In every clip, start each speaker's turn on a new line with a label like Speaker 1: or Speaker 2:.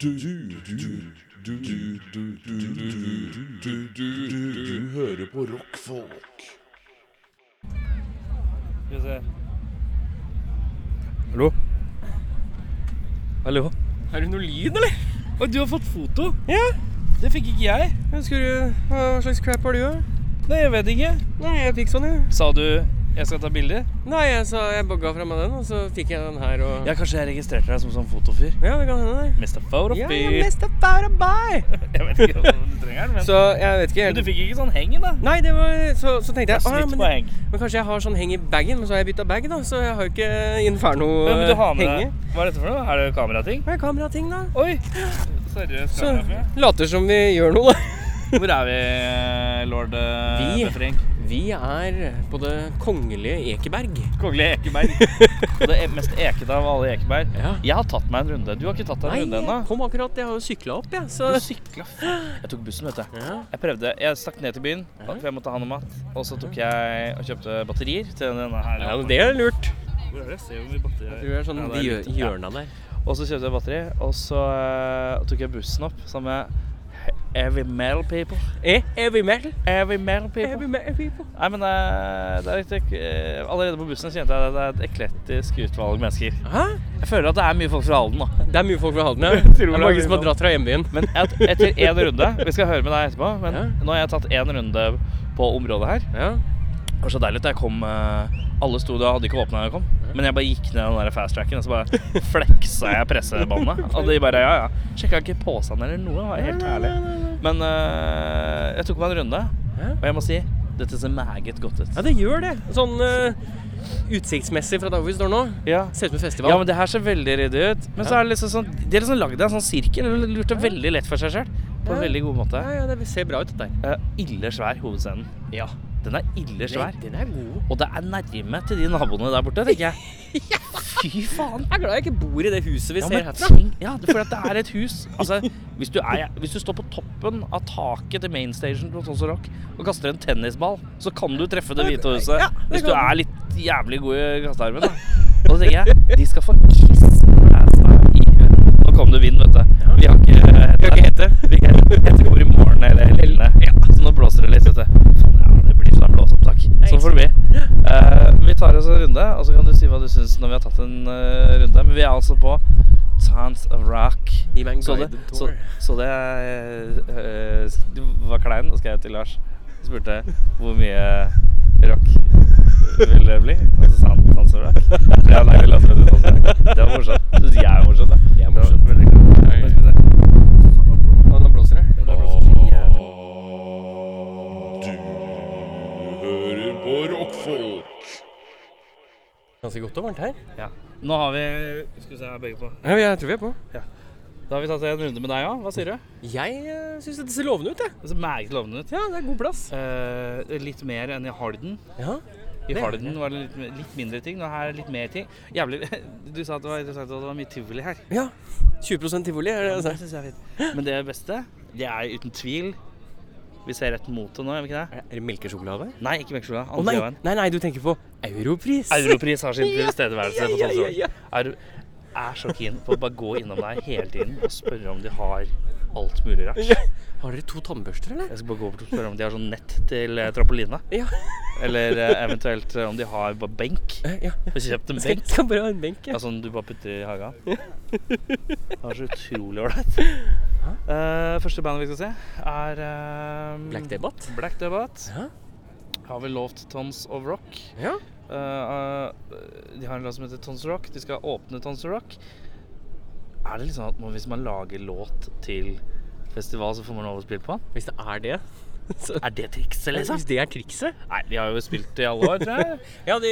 Speaker 1: Du, du, du, du, du, du, du, du, du, du, du, du, du hører på rockfolk.
Speaker 2: Skal vi se.
Speaker 3: Hallo? Hallo?
Speaker 2: Er det noe lyd, eller? Og du har fått foto? Ja. Det fikk ikke jeg.
Speaker 3: Husker du hva slags crap har du, da?
Speaker 2: Nei, jeg vet ikke.
Speaker 3: Nei, jeg fikk sånn, jeg.
Speaker 2: Sa du 'jeg skal ta bilder'?
Speaker 3: Nei, jeg sa jeg bare ga fra meg den, og så fikk jeg den her og
Speaker 2: Ja, kanskje jeg registrerte deg som sånn fotofyr?
Speaker 3: Ja, det kan hende, det.
Speaker 2: Mr. Photofyr.
Speaker 3: Ja, jeg mest about a bye.
Speaker 2: Jeg vet ikke om du trenger den, men
Speaker 3: Så jeg vet ikke
Speaker 2: Men Du
Speaker 3: helt
Speaker 2: fikk ikke sånn heng, da?
Speaker 3: Nei, det var Så, så tenkte jeg
Speaker 2: Snitt
Speaker 3: ah, ja, men,
Speaker 2: på heng.
Speaker 3: men kanskje jeg har sånn heng i bagen, men så har jeg bytta bag, da, så jeg har jo ikke
Speaker 2: Ja, men du har med
Speaker 3: Inferno-henge.
Speaker 2: deg Hva er dette for noe? Er det kamerating?
Speaker 3: Det er kamerating, da.
Speaker 2: Oi! Seriøst
Speaker 3: Så
Speaker 2: kamerafyr?
Speaker 3: later som vi gjør noe, da.
Speaker 2: Hvor er vi, lord eh,
Speaker 3: Vi-
Speaker 2: Befring?
Speaker 3: Vi er på det kongelige Ekeberg.
Speaker 2: Kongelig ekebær. Og det mest ekete av alle ekebær.
Speaker 3: Ja.
Speaker 2: Jeg har tatt meg en runde. Du har ikke tatt deg en
Speaker 3: Nei,
Speaker 2: runde ennå.
Speaker 3: jeg kom akkurat. Jeg har jo sykla opp, jeg. Så
Speaker 2: Du sykla Jeg tok bussen, vet du.
Speaker 3: Ja.
Speaker 2: Jeg prøvde. Jeg stakk ned til byen, for jeg måtte ha noe mat. Og så tok jeg og kjøpte batterier til denne her.
Speaker 3: Ja, men det er lurt.
Speaker 2: Hvor er det? Se hvor mye batterier
Speaker 3: Du er sånn
Speaker 2: Ja, det
Speaker 3: de
Speaker 2: er
Speaker 3: hjø-
Speaker 2: litt- ja.
Speaker 3: hjørna der.
Speaker 2: Og så kjøpte jeg batteri, og så eh, tok jeg bussen opp sammen med he- heavy metal people.
Speaker 3: Eh, heavy metal.
Speaker 2: Heavy metal people.
Speaker 3: Heavy metal people.
Speaker 2: Nei, men eh, det er riktig eh, Allerede på bussen så kjente jeg at det er et eklektisk utvalg mennesker.
Speaker 3: Hæ?
Speaker 2: Jeg føler at det er mye folk fra Halden, da.
Speaker 3: Det er mye folk fra Halden, ja.
Speaker 2: tror
Speaker 3: Det er
Speaker 2: det er
Speaker 3: mange
Speaker 2: mye
Speaker 3: som har
Speaker 2: folk.
Speaker 3: dratt fra hjembyen.
Speaker 2: Men et, etter én runde Vi skal høre med deg etterpå, men
Speaker 3: Ja.
Speaker 2: nå har jeg tatt én runde på området her.
Speaker 3: Ja.
Speaker 2: Det var så deilig at jeg kom eh, Alle sto der, hadde ikke åpna da jeg kom. Men jeg bare gikk ned den der fast tracken og så bare fleksa jeg pressebåndet. Og de bare ja, ja. Sjekka ikke posen eller noe. det var Helt ærlig. Men eh, jeg tok meg en runde,
Speaker 3: Ja.
Speaker 2: og jeg må si dette ser meget godt ut.
Speaker 3: Ja, det gjør det. Sånn eh, utsiktsmessig fra der hvor vi står nå.
Speaker 2: Ja.
Speaker 3: Ser ut som et festival.
Speaker 2: ja, men det her ser veldig ryddig ut. Men så er det liksom sånn De har liksom lagd en sånn sirkel. og Lurt det veldig lett for seg sjøl. På en
Speaker 3: Ja.
Speaker 2: veldig god måte.
Speaker 3: ja, ja, det ser bra ut, dette her.
Speaker 2: Eh, ille svær, hovedscenen. Ja. Den er ille svær.
Speaker 3: Den er god.
Speaker 2: Og det er nærme til de naboene der borte, tenker jeg. Fy faen.
Speaker 3: Jeg er glad jeg ikke bor i det huset vi
Speaker 2: Ja,
Speaker 3: ser
Speaker 2: men
Speaker 3: herfra.
Speaker 2: tenk- ja, for at det er et hus. Altså, hvis du, er, hvis du står på toppen av taket til mainstagen på Tons Rock og kaster en tennisball, så kan du treffe Det hvite huset.
Speaker 3: Ja, det
Speaker 2: hvis du
Speaker 3: kan du.
Speaker 2: er litt jævlig god i kastearmen. da. Og så tenker jeg, de skal få kiss blæsta i huet. Nå kom det vind, vet du. Vi har ikke
Speaker 3: Vi har ikke hette.
Speaker 2: Vi kan hette går i morgen eller lille. Så nå blåser det litt, vet du. Faen, Ja, det blir sånn blåseopptak. Sånn får det bli. Eh, vi tar oss en runde, og så kan du si hva du syns når vi har tatt en eh, runde. Men vi er altså på Tons of Rock.
Speaker 3: Gi meg en
Speaker 2: Så det,
Speaker 3: guided
Speaker 2: så,
Speaker 3: tour.
Speaker 2: så det eh, s- Du var klein, da skal jeg til Lars. Jeg spurte hvor mye rock vil det bli. Og så sa han Tons of Rock. Ja, nei, vi later som det er Tons of Rock. Det var morsomt. Du syns jeg er morsom, da? Jeg er morsom. Veldig bra.
Speaker 3: Å, nå blåser det.
Speaker 1: Du hører på rockfolk.
Speaker 3: Ganske godt og varmt her.
Speaker 2: Ja. Nå har vi Skal vi se, jeg er begge på.
Speaker 3: Ja, jeg tror vi er på.
Speaker 2: Da har vi tatt en runde med deg òg. Hva sier du?
Speaker 3: Jeg uh, syns dette ser lovende ut, jeg.
Speaker 2: Det ser meget lovende ut.
Speaker 3: Ja, det er god plass.
Speaker 2: Eh, litt mer enn i Halden.
Speaker 3: Ja.
Speaker 2: I
Speaker 3: Det er
Speaker 2: Halden var det litt, litt mindre ting. Nå her er det litt mer ting. Jævlig Du sa at det var interessant at det var mye tivoli her.
Speaker 3: ja. 20 tivoli, er det det?
Speaker 2: Det synes jeg er fint. Men det beste, det er uten tvil Vi ser rett mot det nå, gjør vi ikke det?
Speaker 3: Er det melkesjokolade?
Speaker 2: Nei, ikke Veksjola.
Speaker 3: Å nei. nei, nei, du tenker på Europris.
Speaker 2: Europris har sin tilstedeværelse på
Speaker 3: Ja, ja, ja,
Speaker 2: Tonsvoll.
Speaker 3: ja.
Speaker 2: Er, er så keen på å bare gå innom deg hele tiden og spørre om de har alt mulig rart. Jeg
Speaker 3: Har dere to tannbørster, eller?
Speaker 2: skal bare gå bort og spørre om de har sånn nett til eh, trampoline.
Speaker 3: Ja.
Speaker 2: Eller eh, eventuelt eh, om de har bare benk.
Speaker 3: ja.
Speaker 2: Har kjøpt en
Speaker 3: Skal,
Speaker 2: benk.
Speaker 3: skal bare ha en benk. Altså,
Speaker 2: Ja,
Speaker 3: Ja.
Speaker 2: sånn du bare putter i hagen. Det var så utrolig ålreit. Eh, første bandet vi skal se, er eh,
Speaker 3: Black Debatt.
Speaker 2: Black Debate.
Speaker 3: Ja.
Speaker 2: Har vi lovt Tons of Rock.
Speaker 3: Ja.
Speaker 2: Eh, eh, de har en låt som heter Tons of Rock. De skal åpne Tons of Rock. Er det litt sånn at man, hvis man lager låt til festival, så får man lov å spille på den?
Speaker 3: Hvis det er det. Så,
Speaker 2: Er det trikset, liksom?
Speaker 3: hvis det er trikset
Speaker 2: Nei, de har jo spilt i alle år, tror jeg.
Speaker 3: Ja, de,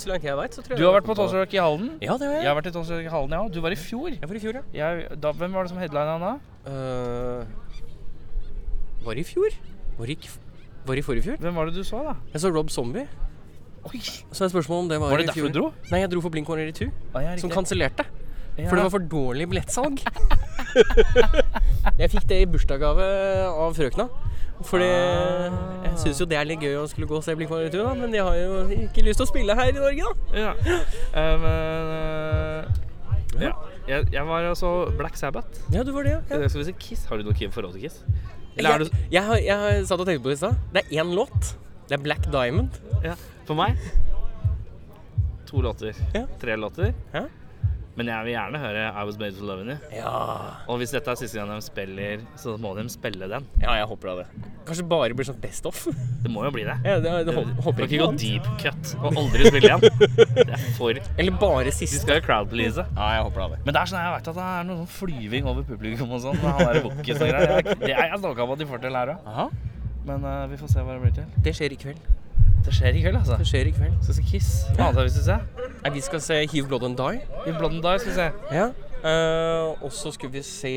Speaker 3: så langt jeg veit, så tror jeg
Speaker 2: Du har vært på Tons of Rock i Halden.
Speaker 3: Ja, det har
Speaker 2: Jeg
Speaker 3: jeg.
Speaker 2: har vært i Tons of Rock i Halden, jeg òg. Du var i fjor.
Speaker 3: Jeg var i fjor, ja.
Speaker 2: Jeg, da, hvem var det som headlina da?
Speaker 3: Eh, var i fjor? Var i, k- var i forrige fjor?
Speaker 2: Hvem var det du så, da?
Speaker 3: Jeg så Rob Zombie.
Speaker 2: Oi,
Speaker 3: Så er spørsmålet om det var,
Speaker 2: Var det
Speaker 3: i fjor.
Speaker 2: derfor du dro?
Speaker 3: Nei, jeg dro for Blink 182,
Speaker 2: Ah, ja,
Speaker 3: som
Speaker 2: riktig.
Speaker 3: kansellerte.
Speaker 2: Ja.
Speaker 3: For det var for dårlig billettsalg. jeg fikk det i bursdagsgave av frøkna. Fordi jeg syns jo det er litt gøy å skulle gå og se Blink 182, da, men de har jo ikke lyst til å spille her i Norge, da.
Speaker 2: Ja. Ehm, Eh, men eh, ja. Jeg, jeg var altså Black Sabbath.
Speaker 3: Ja, du var det, ja.
Speaker 2: Jeg Skal vi si Kiss? Har du noe forhold til Kiss? Eller er
Speaker 3: Jeg,
Speaker 2: du
Speaker 3: jeg, har- jeg har satt og tenkte på det i stad. Det er én låt. Det er Black Diamond.
Speaker 2: ja. For meg to låter.
Speaker 3: Ja.
Speaker 2: Tre låter.
Speaker 3: Ja.
Speaker 2: Men jeg vil gjerne høre I Was Made for Loving You.
Speaker 3: Ja.
Speaker 2: Og hvis dette er siste gang de spiller, så må de spille den.
Speaker 3: ja, jeg håper da det. Kanskje bare blir sånn best of.
Speaker 2: Det må jo bli det.
Speaker 3: Ja, det, det,
Speaker 2: Du
Speaker 3: håper,
Speaker 2: kan
Speaker 3: håper
Speaker 2: ikke
Speaker 3: ikke
Speaker 2: gå
Speaker 3: noe annet.
Speaker 2: deep cut og aldri spille igjen. Det er for De
Speaker 3: Eller bare siste.
Speaker 2: skal jo crowdplease.
Speaker 3: Ja, jeg håper da det.
Speaker 2: Men det er sånn, jeg vet at det er noe sånn flyving over publikum og sånn. med Han der bukkis og greier. Jeg, det er jeg snakka om at de får til her òg.
Speaker 3: Aha.
Speaker 2: Men eh, vi får se hva det blir til.
Speaker 3: Det skjer i kveld.
Speaker 2: Det skjer i kveld, altså.
Speaker 3: Det skjer i kveld.
Speaker 2: Så skal Kiss Hva annet er det vi skal se?
Speaker 3: Nei, vi skal se Hiv Blood and Die.
Speaker 2: I Blood and Die skal vi se.
Speaker 3: Ja. Eh, og så skulle vi se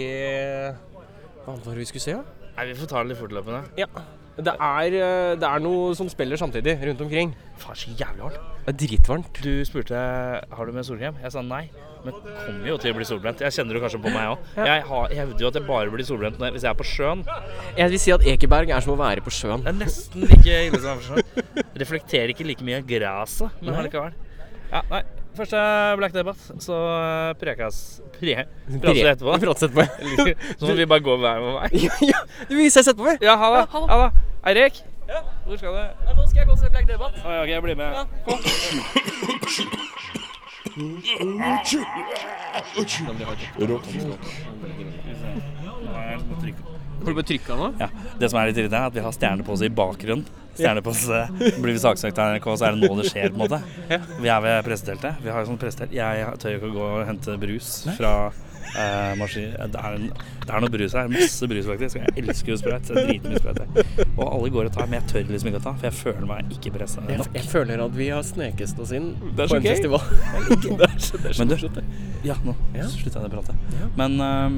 Speaker 3: Hva annet var det vi skulle se, da?
Speaker 2: Nei, vi får ta det litt fortløpende.
Speaker 3: Ja. Det er, eh, det er noe som spiller samtidig rundt omkring.
Speaker 2: Faen, så jævlig hardt.
Speaker 3: Det er dritvarmt.
Speaker 2: Du spurte har du med solkrem. Jeg sa nei. Men det kommer jo til å bli solbrent. Jeg kjenner det kanskje på meg òg. Jeg har- jeg hevder jo at jeg bare blir solbrent når, hvis jeg er på sjøen.
Speaker 3: Jeg vil si at Ekeberg er som å være på sjøen.
Speaker 2: Det er nesten like ille som jeg på sjøen. Reflekterer ikke like mye gresset, men
Speaker 3: Nei.
Speaker 2: allikevel. Ja, nei. Første Black Debatt, så eh, prekas Pre... Prater vi
Speaker 3: Pre-
Speaker 2: etterpå?
Speaker 3: Prates etterpå.
Speaker 2: Så må vi bare gå hver vår vei.
Speaker 3: ja, ja. Vi ses etterpå, vi.
Speaker 2: Ja, ha det.
Speaker 3: Ja, ha det.
Speaker 2: Ha det. Eirik, hvor skal du?
Speaker 3: Nå skal jeg gå og se Black Debatt.
Speaker 2: Å, ja, ok, jeg blir med.
Speaker 1: Rockfolk.
Speaker 3: Får du bare trykka nå?
Speaker 2: Ja, Det som er litt irriterende, er at vi har stjernepose i bakgrunnen. Stjernepose Blir vi saksøkt av NRK, så er det nå det skjer, på en måte. Vi er ved presseteltet. Vi har jo sånn pressetelt. Jeg tør ikke å gå og hente brus fra eh, maskin... Det er, en, det er noe brus her. Masse brus, faktisk. Jeg elsker jo sprøyt. Jeg driter mye sprøyt. jeg. Og alle går og tar, men jeg tør liksom ikke å ta, for jeg føler meg ikke pressa
Speaker 3: Jeg,
Speaker 2: nok.
Speaker 3: jeg føler at vi har sneket oss inn på
Speaker 2: Det er
Speaker 3: en
Speaker 2: så gøy.
Speaker 3: festival. det er så, det
Speaker 2: Men du, ja, nå slutta jeg å prate. Men eh,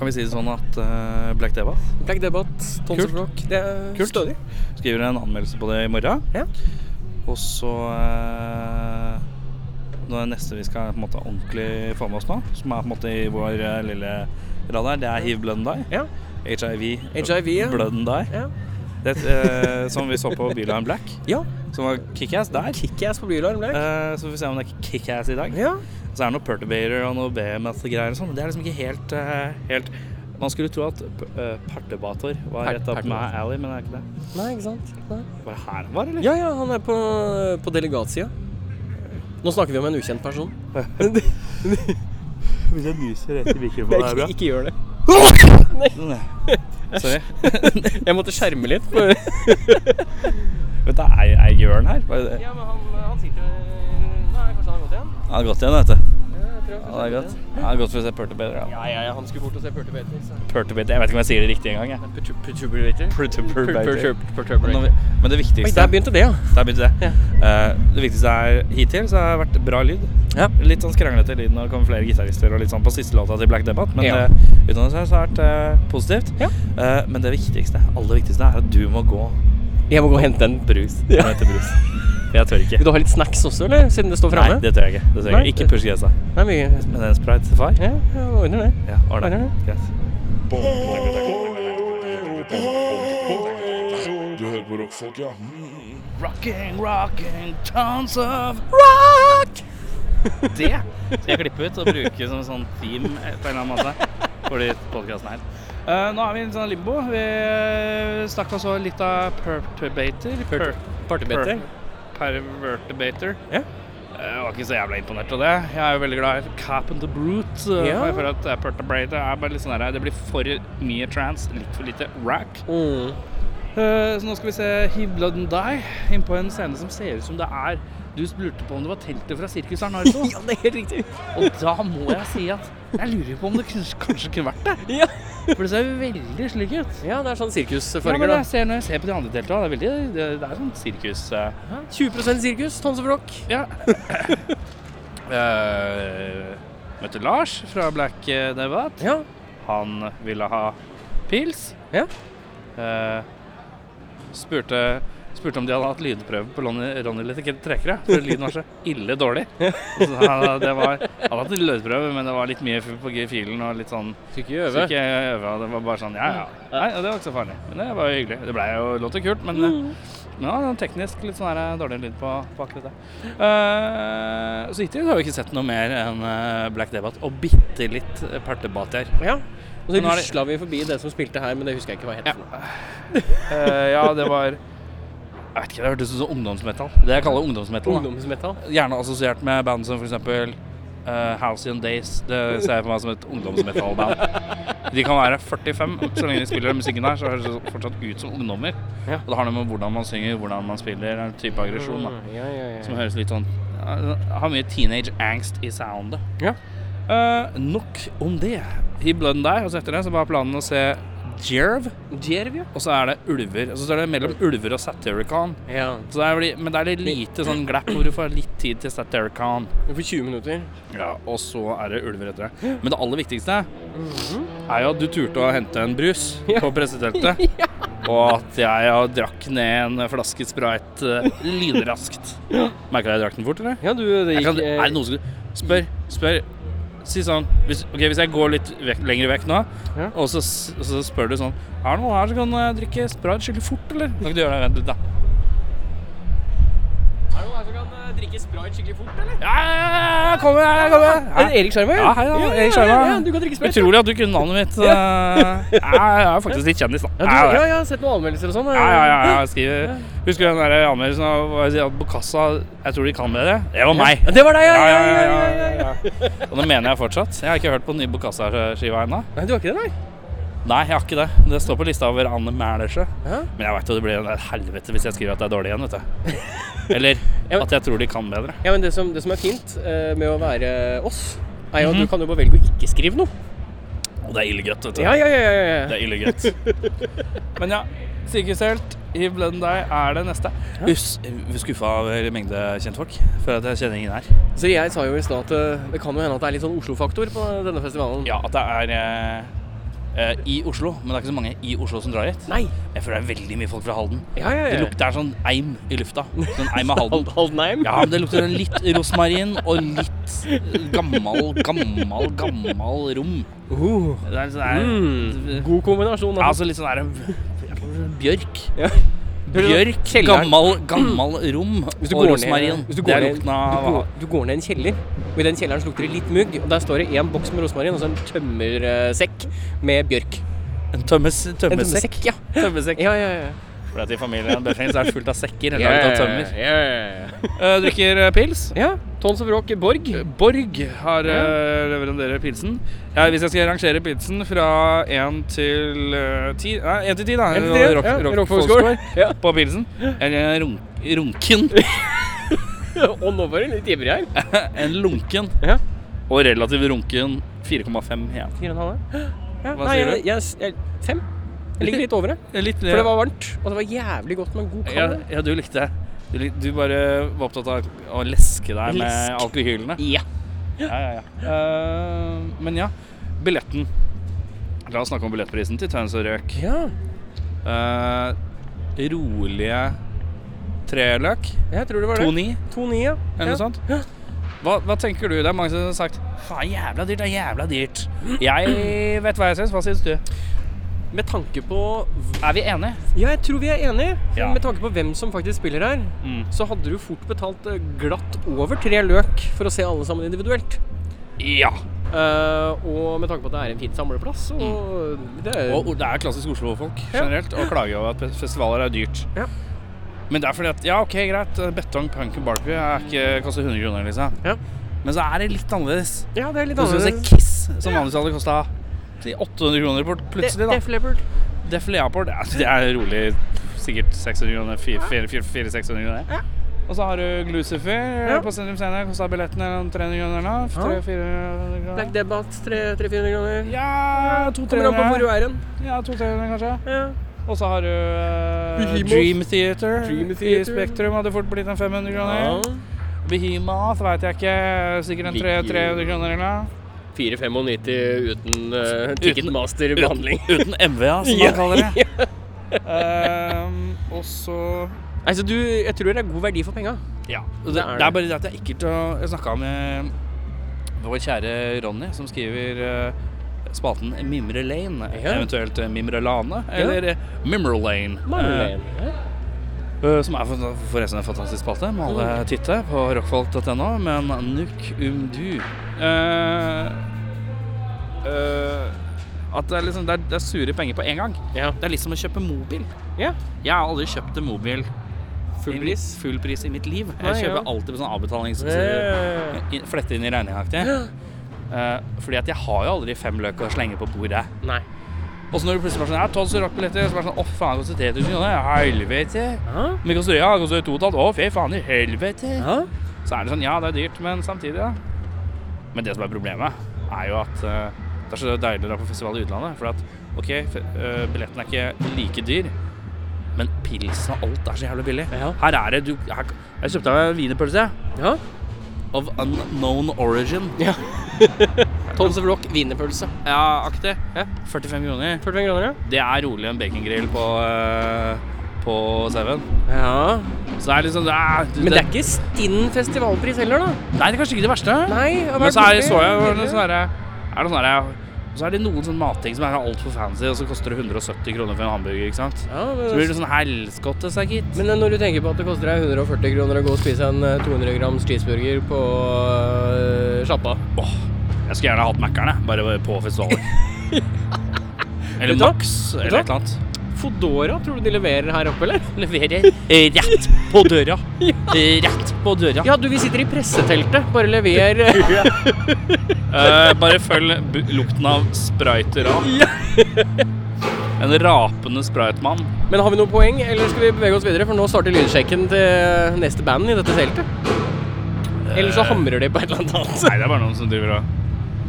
Speaker 2: kan vi si det sånn at eh, Black Deva
Speaker 3: Black Debatt, Tons of Rock. Det er
Speaker 2: Kult.
Speaker 3: stødig.
Speaker 2: skriver en anmeldelse på det i morgen.
Speaker 3: Ja.
Speaker 2: Og så eh, Nå er det neste vi skal på en måte ordentlig få med oss nå, som er på en måte i vår eh, lille radar, det er hiv, blood and die.
Speaker 3: Ja.
Speaker 2: HIV,
Speaker 3: HIV, ja.
Speaker 2: blood and die.
Speaker 3: Ja.
Speaker 2: Det, eh, som vi så på Byline Black,
Speaker 3: ja.
Speaker 2: som var kickass der.
Speaker 3: Kickass på Bylarm, Black.
Speaker 2: Eh, så får vi se om det er kickass i dag.
Speaker 3: Ja.
Speaker 2: Så er det noe Perturbator og noe BMS-greier og sånn. men Det er liksom ikke helt, eh, helt Man skulle tro at uh, Partebator var
Speaker 3: Per-
Speaker 2: rett opp
Speaker 3: Perturbator.
Speaker 2: med Alley, men det er ikke det.
Speaker 3: Nei, ikke sant. Nei.
Speaker 2: Var det her han var, eller?
Speaker 3: Ja, ja, han er på, på delegatsida. Nå snakker vi om en ukjent person.
Speaker 2: Hvis jeg nyser rett i mikrofonen,
Speaker 3: Ikke, ikke gjør det.
Speaker 2: Sorry.
Speaker 3: Jeg måtte skjerme litt. For...
Speaker 2: Vet du, er, er Jørn her? Hva er det?
Speaker 3: men han, sitter Nei, kanskje han har gått igjen?
Speaker 2: Han er godt igjen, vet du.
Speaker 3: Jeg tror
Speaker 2: Han er godt. Han er godt for å se Perturbator. Ja.
Speaker 3: Ja, ja, ja, han skulle bort og se Perturbator. så-
Speaker 2: Perturbator, jeg vet ikke om jeg sier det riktig engang, jeg.
Speaker 3: Perturbator?
Speaker 2: Perturbator.
Speaker 3: Perturb-
Speaker 2: Men,
Speaker 3: Perturbator.
Speaker 2: når vi- men det
Speaker 3: Oi,
Speaker 2: viktigste
Speaker 3: der begynte det, ja.
Speaker 2: Der begynte det. Eh, det viktigste er hittil så har det vært bra lyd.
Speaker 3: Ja.
Speaker 2: Litt sånn skranglete lyd når det kommer flere gitarister og litt sånn på siste låta til Black Debate, men
Speaker 3: Ja.
Speaker 2: eh, utenom det så har det vært eh, positivt.
Speaker 3: Ja.
Speaker 2: Eh, men det viktigste, aller viktigste, er at du må gå
Speaker 3: Jeg må gå og hente en brus.
Speaker 2: og hente brus. For Jeg tør ikke.
Speaker 3: Vil du ha litt snacks også, eller? Siden det står
Speaker 2: Nei,
Speaker 3: framme?
Speaker 2: det tør jeg ikke. Det tør jeg
Speaker 3: Nei.
Speaker 2: ikke. ikke push grensa.
Speaker 3: Nei, mye
Speaker 2: Men en sprite til far?
Speaker 3: Ja, jeg ordner det.
Speaker 2: Ja, ordner det.
Speaker 3: Ordner
Speaker 2: Greit.
Speaker 1: Du hører på rockfolk, ja. Mm.
Speaker 2: Rocking, rocking, tons of
Speaker 3: Rock!
Speaker 2: Det skal jeg klippe ut og bruke som sånn theme på en eller annen måte for de podkastene her. Eh, nå er vi i en sånn limbo. Vi eh, snakka så litt av perturbator. Per
Speaker 3: Partybeter.
Speaker 2: per- Pervertibator.
Speaker 3: Ja.
Speaker 2: Jeg var ikke så jævla imponert av det. Jeg er jo veldig glad i Cap and the Brute. eh,
Speaker 3: Ja.
Speaker 2: og Jeg føler at eh, Perturbator er bare litt sånn der, Det blir for mye trans, litt for lite rack.
Speaker 3: Mm.
Speaker 2: Eh, Så nå skal vi se Hiv Blood and Die inn på en scene som ser ut som det er Du lurte på om det var teltet fra Sirkus Arnardo.
Speaker 3: Ja, det er helt riktig.
Speaker 2: Og da må jeg si at jeg lurer på om det kanskje, kanskje kunne vært det.
Speaker 3: Ja.
Speaker 2: For det ser jo veldig slik ut.
Speaker 3: ja, det er sånn
Speaker 2: Ja, men
Speaker 3: sirkusfarger,
Speaker 2: jeg ser, når jeg ser på de andre deltakerne, det er veldig det, det er sånn sirkus. eh,
Speaker 3: da. 20 sirkus, Tons of Rock.
Speaker 2: Ja. Eh, møtte Lars fra Black eh, Debat.
Speaker 3: Ja.
Speaker 2: Han ville ha pils.
Speaker 3: Ja.
Speaker 2: Eh, spurte spurte om de hadde hatt lydprøve på Ronny, Ronny litt ikke trekere, for lyden var så ille dårlig. Og Så, han- det var, han hadde hatt lydprøve, men det var litt mye på G-filen og litt sånn
Speaker 3: Skal ikke
Speaker 2: Så ikke øve, og det var bare sånn, ja, ja. Nei, og det var ikke så farlig. Men det var jo hyggelig. Det ble jo låt og kult, men Ja, det er teknisk litt sånn her, eh, dårlig lyd på, på akkurat det. Eh, så hittil har vi ikke sett noe mer enn eh, Black Debatt og bitte litt eh, partebatier.
Speaker 3: Ja. Og så
Speaker 2: Men nå er det-
Speaker 3: rusla vi forbi det som spilte her, men det husker jeg ikke hva het.
Speaker 2: Ja.
Speaker 3: for noe.
Speaker 2: Eh, ja, det var Jeg vet ikke, det hørtes ut som ungdomsmetal. Det jeg kaller ungdomsmetal. da.
Speaker 3: Ungdomsmetall.
Speaker 2: Gjerne assosiert med band som f.eks. Uh, Halcyon Days. Det ser jeg for meg som et ungdomsmetallband. De kan være 45, og så lenge de spiller den musikken her, så høres det fortsatt ut som ungdommer.
Speaker 3: Ja.
Speaker 2: Og det har noe med hvordan man synger, hvordan man spiller, en type aggresjon. da.
Speaker 3: Mm, Ja, ja, ja.
Speaker 2: Som høres litt sånn ja, Har mye teenage angst i soundet.
Speaker 3: Ja.
Speaker 2: Eh, nok om det. I blønn der, og så altså etter det, så var planen å se Jerv,
Speaker 3: Jerv, ja.
Speaker 2: og så er det ulver. Og så står det mellom ulver og Satyricon.
Speaker 3: Ja.
Speaker 2: Så det er, bli- men det er litt lite sånn glapp hvor du får litt tid til Satyricon.
Speaker 3: Vi får 20 minutter.
Speaker 2: Ja, og så er det ulver etter det. Men det aller viktigste
Speaker 3: Mhm.
Speaker 2: er jo at du turte å hente en brus på presseteltet. Og at jeg har drakk ned en flaske Sprite eh, lynraskt. Merka jeg drakk den fort, eller?
Speaker 3: Ja, du, det
Speaker 2: Jeg
Speaker 3: gikk
Speaker 2: kan,
Speaker 3: eh,
Speaker 2: er det noen som Spør, spør. Si sånn hvis, Ok, hvis jeg går litt vekk, lenger vekk nå,
Speaker 3: Ja.
Speaker 2: og, så, s- og så spør du sånn Er det noen her som kan eh, drikke Sprite skikkelig fort, eller? Kan ikke du gjøre det? Vent litt, da.
Speaker 3: Er det noen her som kan eh, drikke sprite skikkelig fort, eller?
Speaker 2: Ja, ja, ja, ja, kom igjen, kom igjen.
Speaker 3: Er det Erik Skjermøy?
Speaker 2: Ja, hei da, Erik
Speaker 3: ja,
Speaker 2: Skjermøy.
Speaker 3: ja, du kan drikke sprite.
Speaker 2: Utrolig at du kunne navnet mitt. eh, jeg er faktisk litt kjendis, da.
Speaker 3: Ja, du, ja, ja, sett noen anmeldelser og sånn. eh.
Speaker 2: Ja, ja, ja, jeg skriver. Husker du den der anmeldelsen av hva jeg sier, at Bokassa Jeg tror de kan bedre? Det var meg.
Speaker 3: Ja, Det var deg, ja.
Speaker 2: Ja,
Speaker 3: ja,
Speaker 2: ja,
Speaker 3: ja,
Speaker 2: ja,
Speaker 3: ja, ja.
Speaker 2: ja. Og det mener jeg fortsatt. Jeg har ikke hørt på den nye Bokassa-skiva ennå.
Speaker 3: Nei, du har ikke det, nei?
Speaker 2: Nei, jeg har ikke det. Det står på lista over anmeldelser.
Speaker 3: Ja.
Speaker 2: Men jeg veit jo det blir en helvete hvis jeg skriver at det er dårlig igjen, vet du. Eller
Speaker 3: Ja, men-
Speaker 2: at jeg tror de kan bedre.
Speaker 3: Ja, men det som, det som er fint eh, med å være oss, er jo at du kan jo bare velge å ikke skrive noe.
Speaker 2: Og det er ille grøtt, vet du.
Speaker 3: Ja, ja, ja. ja, ja.
Speaker 2: Det er ille greit. Men ja, sykehushelt i Blønn deg er det neste. Us, skuffa over mengde kjentfolk. Føler at jeg kjenner ingen her.
Speaker 3: Så jeg sa jo i stad at eh, det kan jo hende at det er litt sånn Oslo-faktor på denne festivalen.
Speaker 2: Ja, at det er eh, eh, i Oslo, men det er ikke så mange i Oslo som drar hit.
Speaker 3: Nei.
Speaker 2: Jeg føler det er veldig mye folk fra Halden.
Speaker 3: Ja, ja,
Speaker 2: Det
Speaker 3: ja.
Speaker 2: lukter sånn eim i lufta. Sånn eim av Halden.
Speaker 3: Haldenheim?
Speaker 2: Ja, men det lukter en litt rosmarin og litt gammal, gammal, gammal rom.
Speaker 3: Uh,
Speaker 2: Det er sånn
Speaker 3: mm,
Speaker 2: der
Speaker 3: god kombinasjon.
Speaker 2: Ja,
Speaker 3: da.
Speaker 2: Altså litt sånn der Bjørk.
Speaker 3: Ja.
Speaker 2: Bjørk, gammal, gammal rom
Speaker 3: Hvis du
Speaker 2: og
Speaker 3: går
Speaker 2: rosmarin.
Speaker 3: ned, hvis du
Speaker 2: Det
Speaker 3: går,
Speaker 2: er
Speaker 3: ned, du,
Speaker 2: lukten av
Speaker 3: går, du går ned i en kjeller, og i den kjelleren så lukter det litt mugg. Og der står det én boks med rosmarin og så en tømmersekk med bjørk.
Speaker 2: en tømmes,
Speaker 3: En
Speaker 2: tømmesekk.
Speaker 3: tømmersekk, ja.
Speaker 2: Tømmesekk.
Speaker 3: Ja, ja, ja.
Speaker 2: For at i familien Bjørkling så er det fullt av sekker
Speaker 3: Ja,
Speaker 2: laget av
Speaker 3: ja,
Speaker 2: tømmer.
Speaker 3: ja, ja.
Speaker 2: Eh, drikker eh, pils.
Speaker 3: ja. Tons og Vråk Borg.
Speaker 2: Eh, Borg har eh, leveranderer pilsen. Ja, hvis jeg skal rangere pilsen fra 1 til eh, 10 Nei, 1 til 10, da.
Speaker 3: En til,
Speaker 2: Rock-
Speaker 3: ja.
Speaker 2: rock-
Speaker 3: Rockfolkskår.
Speaker 2: folkskår
Speaker 3: Ja.
Speaker 2: På pilsen. Eller en runk, runken.
Speaker 3: Og nå var det litt ivrig her.
Speaker 2: En lunken.
Speaker 3: Ja.
Speaker 2: Og relativt runken 4,5 igjen.
Speaker 3: Fire og en halv, ja. ja.
Speaker 2: Hva
Speaker 3: Nei,
Speaker 2: sier du?
Speaker 3: jeg, jeg, jeg, fem. Jeg ligger litt eh, over det.
Speaker 2: Litt
Speaker 3: For det var varmt, og det var jævlig godt med en god
Speaker 2: ja,
Speaker 3: kald.
Speaker 2: ja, du likte det. Du, lik, du bare var opptatt av å leske deg med
Speaker 3: Lesk.
Speaker 2: alkohylene.
Speaker 3: Ja.
Speaker 2: Ja, ja, ja. Eh, men ja, billetten. La oss snakke om billettprisen til Tøns og Røk.
Speaker 3: Ja.
Speaker 2: Eh, rolige tre løk.
Speaker 3: Jeg tror det var det.
Speaker 2: 2,9
Speaker 3: To ni, ja.
Speaker 2: eller noe sånt. Hva, hva tenker du? Det er mange som har sagt faen, jævla dyrt, det er jævla dyrt. Jeg vet hva jeg syns. Hva syns du?
Speaker 3: Med tanke på
Speaker 2: Er vi enige?
Speaker 3: Ja, jeg tror vi er enige. For
Speaker 2: Ja.
Speaker 3: Med tanke på hvem som faktisk spiller her,
Speaker 2: Mm.
Speaker 3: så hadde du fort betalt eh, glatt over tre løk for å se alle sammen individuelt.
Speaker 2: Ja.
Speaker 3: Eh, og med tanke på at det er en fin samleplass, og det er
Speaker 2: Mm. Og og det er klassisk Oslo-folk
Speaker 3: Ja.
Speaker 2: generelt å klage over at festivaler er dyrt.
Speaker 3: Ja.
Speaker 2: Men det er fordi at ja, ok, greit, eh, betong, punk og barbecue er ikke- koster 100 kroner, liksom.
Speaker 3: Ja.
Speaker 2: Men så er det litt annerledes.
Speaker 3: Ja, det er litt
Speaker 2: Du skal se
Speaker 3: annerledes.
Speaker 2: Kiss, som vanligvis hadde kosta 800 kroner port- plutselig, da.
Speaker 3: Def Leppard.
Speaker 2: Def Leppard, ja, altså, det er rolig sikkert 600 kroner, 400-600 kroner. Og så har du Lucifer
Speaker 3: Ja.
Speaker 2: på Sentrum Scene, kosta billetten eller noen 300 kroner eller noe.
Speaker 3: Ja.
Speaker 2: 300-400 kroner.
Speaker 3: Black Debate 300-400 kroner.
Speaker 2: Ja,
Speaker 3: Kommer an på hvor du
Speaker 2: 200-300.
Speaker 3: er hen.
Speaker 2: Ja, 200-300 kanskje.
Speaker 3: Ja.
Speaker 2: Og så har du eh,
Speaker 3: Behemoth.
Speaker 2: Dream Theater.
Speaker 3: Dream
Speaker 2: I
Speaker 3: Theater.
Speaker 2: Spektrum hadde fort blitt en 500 kroner. Behemoth vet jeg ikke. Sikkert en tre-
Speaker 3: Ligger-
Speaker 2: 300 kroner eller noe.
Speaker 3: 4,95 uten
Speaker 2: eh,
Speaker 3: uh,
Speaker 2: Uten, uten MVA, som
Speaker 3: Ja.
Speaker 2: man kaller det. Ehm, og så
Speaker 3: Altså, du, jeg tror det er god verdi for penga.
Speaker 2: Ja. Det,
Speaker 3: det
Speaker 2: det
Speaker 3: er
Speaker 2: er
Speaker 3: det.
Speaker 2: bare det at jeg ikke til å Jeg snakka med vår kjære Ronny, som skriver eh, spalten Mimre Lane.
Speaker 3: Ja.
Speaker 2: Eventuelt eh, Mimre Lane, eller eh, Mimre Lane. Eh, Eh, Som er for- forresten en fantastisk spalte. Må
Speaker 3: Mm.
Speaker 2: alle titte på rockfolk.no. Men nuk um du eh, eh, At det er, liksom, det, er, det er sure penger på én gang.
Speaker 3: Ja.
Speaker 2: Det er litt som å kjøpe mobil.
Speaker 3: Ja.
Speaker 2: Jeg har aldri kjøpt en mobil i
Speaker 3: Full
Speaker 2: mitt-
Speaker 3: pris.
Speaker 2: full pris i mitt liv. Jeg
Speaker 3: Nei,
Speaker 2: kjøper
Speaker 3: ja.
Speaker 2: alltid på sånn avbetalings...
Speaker 3: Eh,
Speaker 2: i- Flette inn i regninga-aktig. Eh, fordi at jeg har jo aldri fem løk å slenge på bordet.
Speaker 3: Nei.
Speaker 2: Og så når du plutselig bare sånn, ja, 12 surakkbilletter, så bare sånn, å faen, det koster 3000 kroner, ja, helvete.
Speaker 3: Hæ?
Speaker 2: Men det koster, ja, det koster 2,5, å fy faen, i helvete.
Speaker 3: Hæ?
Speaker 2: Så er det sånn, ja, det er dyrt, men samtidig, ja. Men det som er problemet, er jo at eh, det er så deilig å dra på festival i utlandet, for at, ok, f- eh, billetten er ikke like dyr, men pilsen og alt er så jævlig billig.
Speaker 3: Ja.
Speaker 2: Her er det, du, her, jeg kjøpte meg en wienerpølse,
Speaker 3: Ja.
Speaker 2: of unknown origin.
Speaker 3: ja. Tons of Rock wienerpølse.
Speaker 2: Ja, aktig.
Speaker 3: Ja.
Speaker 2: 45 kroner.
Speaker 3: 45 kroner,
Speaker 2: Det er rolig en bacongrill på, eh, på Seven.
Speaker 3: ja. ja.
Speaker 2: Så det er liksom det er,
Speaker 3: Men det er ikke stinn festivalpris heller, da.
Speaker 2: Nei, det er kanskje ikke det verste.
Speaker 3: Nei. det har
Speaker 2: Men
Speaker 3: vært
Speaker 2: så er,
Speaker 3: veldig
Speaker 2: så jeg det var
Speaker 3: billig.
Speaker 2: noe sånn derre- er det sånn derre- Så er det noen sånn matting som er altfor fancy, og så koster det 170 kroner for en hamburger, ikke sant.
Speaker 3: ja,
Speaker 2: Så blir
Speaker 3: men,
Speaker 2: det sånn helskotte, sa gitt.
Speaker 3: men når du tenker på at det koster deg 140 kroner å gå og spise en eh, 200 grams cheeseburger på eh, sjappa
Speaker 2: Åh, jeg skulle gjerne hatt Mækkern, jeg. Bare på festivalen. eller
Speaker 3: Vet du hva?
Speaker 2: Max,
Speaker 3: du hva?
Speaker 2: eller et eller annet.
Speaker 3: Fodora, tror du de leverer her oppe, eller?
Speaker 2: Leverer eh, rett på døra. Eh, Rett på døra.
Speaker 3: Ja, du, vi sitter i presseteltet. Bare lever
Speaker 2: Eh, bare følg bu- lukten av sprayteran.
Speaker 3: Ja.
Speaker 2: En rapende spraytmann.
Speaker 3: Men har vi noe poeng, eller skal vi bevege oss videre? For nå starter lydsjekken til neste band i dette teltet. Eller så hamrer de på et eller annet annet.
Speaker 2: Nei, det er bare noen som driver og